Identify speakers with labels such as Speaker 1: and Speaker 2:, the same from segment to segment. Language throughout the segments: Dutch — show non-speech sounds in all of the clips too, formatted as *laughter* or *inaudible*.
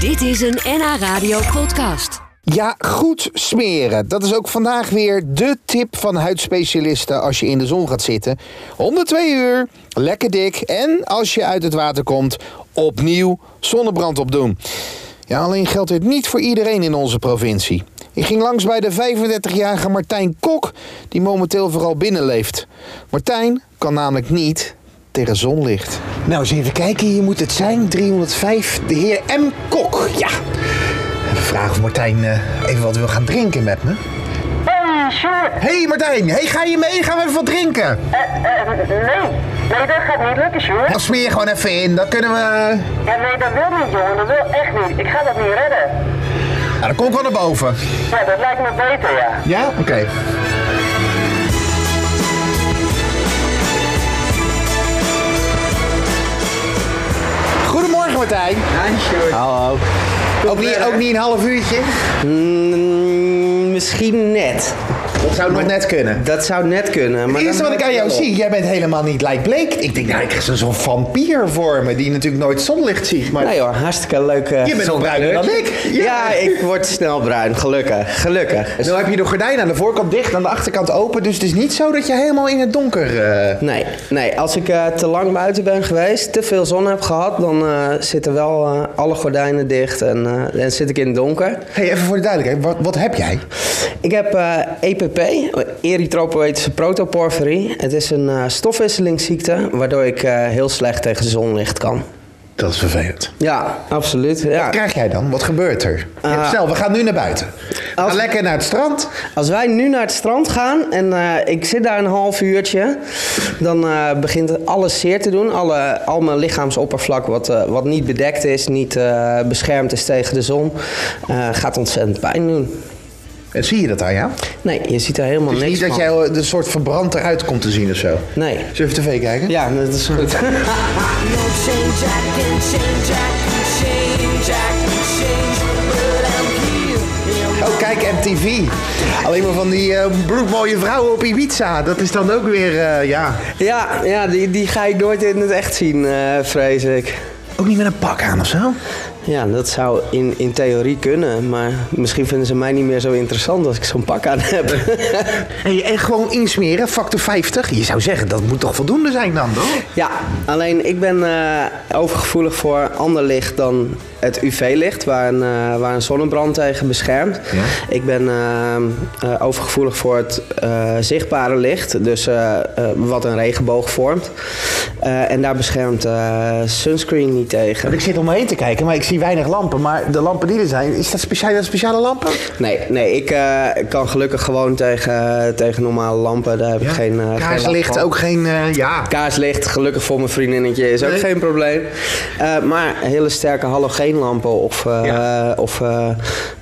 Speaker 1: Dit is een NH Radio podcast.
Speaker 2: Ja, goed smeren. Dat is ook vandaag weer de tip van huidspecialisten als je in de zon gaat zitten. Om de twee uur, lekker dik en als je uit het water komt, opnieuw zonnebrand opdoen. Ja, alleen geldt dit niet voor iedereen in onze provincie. Ik ging langs bij de 35-jarige Martijn Kok, die momenteel vooral binnenleeft. Martijn kan namelijk niet tegen zonlicht. Nou, eens even kijken. Hier moet het zijn. 305, de heer M. Kok. Ja. Even vragen of Martijn eh, even wat wil gaan drinken met me.
Speaker 3: Eh, sure.
Speaker 2: hey Martijn, hey, ga je mee? Gaan we even wat drinken?
Speaker 3: Eh, eh, nee. Nee, dat gaat niet lukken, sure.
Speaker 2: Dan smeer je gewoon even in, dan kunnen we...
Speaker 3: Ja, nee, dat wil niet, jongen. Dat wil echt niet. Ik ga dat niet redden.
Speaker 2: Nou, dan kom ik wel naar boven.
Speaker 3: Ja, dat lijkt me beter, ja.
Speaker 2: Ja? Oké. Goedemorgen Martijn.
Speaker 4: Hallo.
Speaker 2: Ook niet, ook niet een half uurtje?
Speaker 4: Mm, misschien net.
Speaker 2: Zou nog net kunnen.
Speaker 4: Dat zou net kunnen. Maar
Speaker 2: Het eerste
Speaker 4: dan
Speaker 2: wat ik aan
Speaker 4: houdt
Speaker 2: jou
Speaker 4: het wel
Speaker 2: zie, jij bent helemaal niet lijkbleek. Ik denk, nou, ik krijg zo'n vampier voor me, die natuurlijk nooit zonlicht ziet.
Speaker 4: op.
Speaker 2: Maar
Speaker 4: Nee hoor, hartstikke leuk. eh,
Speaker 2: je bent al
Speaker 4: zondag
Speaker 2: bruiner dan
Speaker 4: leuk.
Speaker 2: ik.
Speaker 4: Ja. ik word snel bruin. Gelukkig. Gelukkig.
Speaker 2: Nu heb je de gordijn aan de voorkant dicht, aan de achterkant open. Dus het is niet zo dat je helemaal in het donker... eh,
Speaker 4: Nee, nee, als ik eh, te lang buiten ben geweest, te veel zon heb gehad, dan eh, zitten wel eh, alle gordijnen dicht en eh, en zit ik in het donker.
Speaker 2: Hey, even voor de duidelijkheid, wat, wat heb jij?
Speaker 4: Ik heb eh, EPP, erythropoëtische protoporphyrie. Het is een eh, stofwisselingsziekte, waardoor ik eh, heel slecht tegen zonlicht kan.
Speaker 2: Dat is vervelend.
Speaker 4: Ja, absoluut. Ja.
Speaker 2: Wat krijg jij dan? Wat gebeurt er?
Speaker 4: Ah.
Speaker 2: Stel, we gaan nu naar buiten. Ga
Speaker 4: Als-
Speaker 2: lekker naar het strand.
Speaker 4: Als wij nu naar het strand gaan en eh, ik zit daar een half uurtje, dan eh, begint alles zeer te doen. Alle, al mijn lichaamsoppervlak wat, eh, wat niet bedekt is, niet eh, beschermd is tegen de zon, eh, gaat ontzettend pijn doen.
Speaker 2: En Eh, zie je dat aan jou?
Speaker 4: Nee, je ziet er helemaal
Speaker 2: Het is
Speaker 4: niks
Speaker 2: niet
Speaker 4: van.
Speaker 2: dat jij eh, een soort verbrand eruit komt te zien of zo.
Speaker 4: Nee.
Speaker 2: Zullen we even tv kijken?
Speaker 4: Ja, dat is goed. *laughs*
Speaker 5: No change, I can change, I can change, I can change, but I'm here.
Speaker 2: Oh, kijk, MTV. Alleen maar van die eh, bloedmooie vrouwen op Ibiza. Dat is dan ook weer, eh, ja...
Speaker 4: ja, ja die, die ga ik nooit in het echt zien, eh, vrees ik.
Speaker 2: Ook niet met een pak aan of zo?
Speaker 4: Ja, dat zou in, in theorie kunnen, maar misschien vinden ze mij niet meer zo interessant als ik zo'n pak aan heb. *laughs*
Speaker 2: En, en gewoon insmeren, factor 50. Je zou zeggen, dat moet toch voldoende zijn dan, toch?
Speaker 4: Ja, alleen ik ben eh, overgevoelig voor ander licht dan het UV-licht, waar, een, eh, waar een zonnebrand tegen beschermt. Ik ben eh, eh, overgevoelig voor het eh, zichtbare licht, dus eh, eh, wat een regenboog vormt. Eh, en daar beschermt eh, sunscreen niet tegen.
Speaker 2: Ik zit om me heen te kijken, maar ik zie weinig lampen. Maar de lampen die er zijn, is dat speciale, speciale lampen?
Speaker 4: Nee, nee ik eh, kan gelukkig gewoon tegen, tegen normale lampen, daar heb ik geen. eh, geen last
Speaker 2: Kaarslicht,
Speaker 4: van.
Speaker 2: ook geen... eh, ja.
Speaker 4: Kaarslicht, gelukkig voor mijn vriendinnetje, is ook
Speaker 2: Nee.
Speaker 4: geen probleem. Eh, maar hele sterke halogeenlampen of, eh, of eh,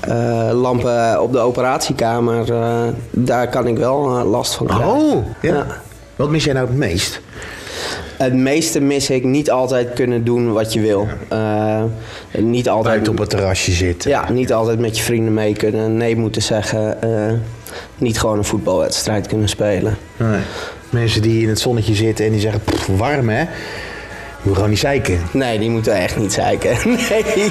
Speaker 4: eh, lampen op de operatiekamer, eh, daar kan ik wel eh, last van krijgen.
Speaker 2: Oh, ja.
Speaker 4: Ja.
Speaker 2: Wat mis jij nou het meest?
Speaker 4: Het meeste mis ik niet altijd kunnen doen wat je wil. Eh, niet altijd...
Speaker 2: Buiten op het terrasje zitten.
Speaker 4: Ja, niet altijd met je vrienden mee kunnen, nee moeten zeggen. eh, niet gewoon een voetbalwedstrijd kunnen spelen.
Speaker 2: Nee. Mensen die in het zonnetje zitten en die zeggen, "Pff, warm hè. Moet gewoon niet zeiken.
Speaker 4: Nee, die moeten echt niet zeiken. *laughs* Nee.